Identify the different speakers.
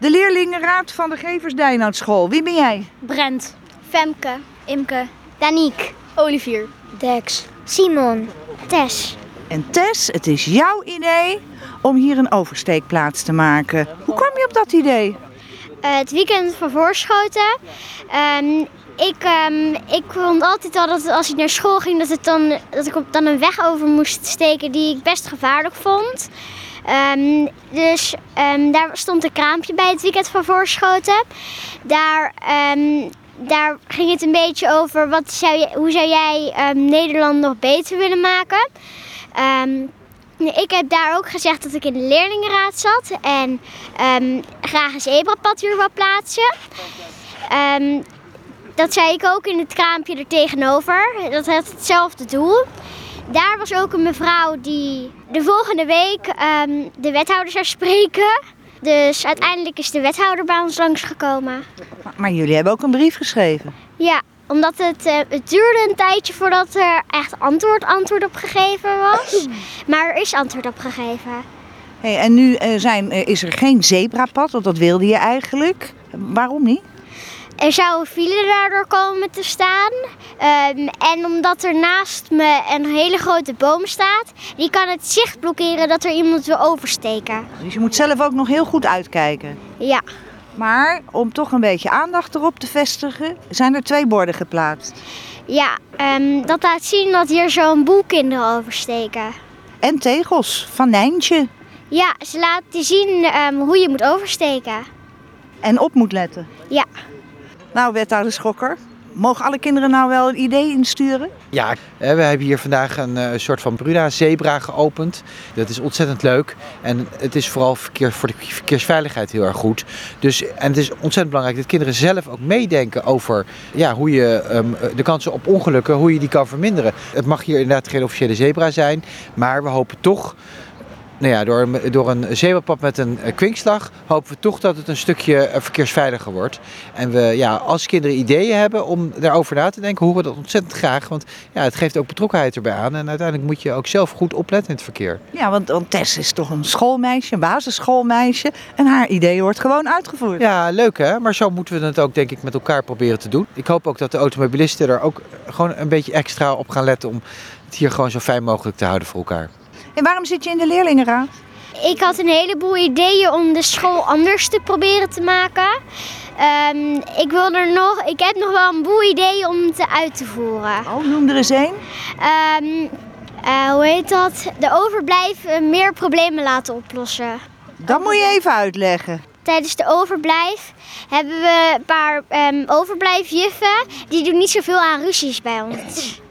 Speaker 1: De leerlingenraad van de Gevers School. Wie ben jij?
Speaker 2: Brent,
Speaker 3: Femke,
Speaker 2: Imke,
Speaker 3: Danique,
Speaker 2: Olivier.
Speaker 3: Dex, Simon, Tess.
Speaker 1: En Tess, het is jouw idee om hier een oversteekplaats te maken. Hoe kwam je op dat idee?
Speaker 3: Eh, het weekend van Voorschoten. Ehm, ik, ehm, ik vond altijd al dat als ik naar school ging, dat, het dan, dat ik op- dan een weg over moest steken die ik best gevaarlijk vond. Ehm, dus ehm, daar stond een kraampje bij het weekend van Voorschoten. Daar, ehm, daar ging het een beetje over wat zou je, hoe zou jij ehm, Nederland nog beter willen maken. Ehm, ik heb daar ook gezegd dat ik in de leerlingenraad zat en ehm, graag een zebrapad hier wil plaatsen. Ehm, dat zei ik ook in het kraampje er tegenover. Dat had hetzelfde doel. Daar was ook een mevrouw die de volgende week ehm, de wethouder zou spreken. Dus uiteindelijk is de wethouder bij ons langsgekomen.
Speaker 1: Maar- Maar jullie hebben ook een brief geschreven.
Speaker 3: Ja, omdat het, eh, het duurde een tijdje voordat er echt antwoord, antwoord op gegeven was. Maar er is antwoord op gegeven.
Speaker 1: Hey, en nu eh, zijn, eh, is er geen zebrapad, want dat wilde je eigenlijk. Waarom niet?
Speaker 3: Er zou een file daardoor komen te staan. Ehm, en omdat er naast me een hele grote boom staat, die kan het zicht blokkeren dat er iemand wil oversteken.
Speaker 1: Dus je moet zelf ook nog heel goed uitkijken.
Speaker 3: Ja,
Speaker 1: Maar om toch een beetje aandacht erop te vestigen, zijn er twee borden geplaatst.
Speaker 3: ja ehm, dat laat zien dat hier zo'n boel kinderen oversteken.
Speaker 1: En tegels van Nijntje.
Speaker 3: Ja, ze laten zien ehm, hoe je moet oversteken.
Speaker 1: En op moet letten.
Speaker 3: Ja.
Speaker 1: Nou, wethouder Schokker, mogen alle kinderen nou wel een idee insturen?
Speaker 4: Ja, hè, we hebben hier vandaag een eh, soort van Bruna Zebra geopend. Dat is ontzettend leuk. En het is vooral verkeer, voor de verkeersveiligheid heel erg goed. Dus, en het is ontzettend belangrijk dat kinderen zelf ook meedenken over ja, hoe je ehm, de kansen op ongelukken, hoe je die kan verminderen. Het mag hier inderdaad geen officiële zebra zijn. Maar we hopen toch, nou ja, door, een- door een zebrapad met een eh, kwinkslag, hopen we toch dat het een stukje eh, verkeersveiliger wordt. En we, ja, als kinderen ideeën hebben om daarover na te denken, horen we dat ontzettend graag. Want ja, het geeft ook betrokkenheid erbij aan. En uiteindelijk moet je ook zelf goed opletten in het verkeer.
Speaker 1: Ja, want, want Tess is toch een schoolmeisje, een basisschoolmeisje. En haar idee wordt gewoon uitgevoerd.
Speaker 4: Ja, leuk hè? Maar zo moeten we het ook denk ik met elkaar proberen te doen. Ik hoop ook dat de automobilisten er ook gewoon een beetje extra op gaan letten om het hier gewoon zo fijn mogelijk te houden voor elkaar.
Speaker 1: En waarom zit je in de leerlingenraad?
Speaker 3: Ik had een heleboel ideeën om de school anders te proberen te maken. Ehm, ik, wil er nog, ik heb nog wel een boel ideeën om te uit te voeren.
Speaker 1: Oh, noem er eens één.
Speaker 3: Ehm, eh, hoe heet dat? De overblijven meer problemen laten oplossen.
Speaker 1: Dat moet je even uitleggen.
Speaker 3: Tijdens de overblijf hebben we een paar ehm overblijfjuffen. Die doen niet zoveel aan ruzies bij ons.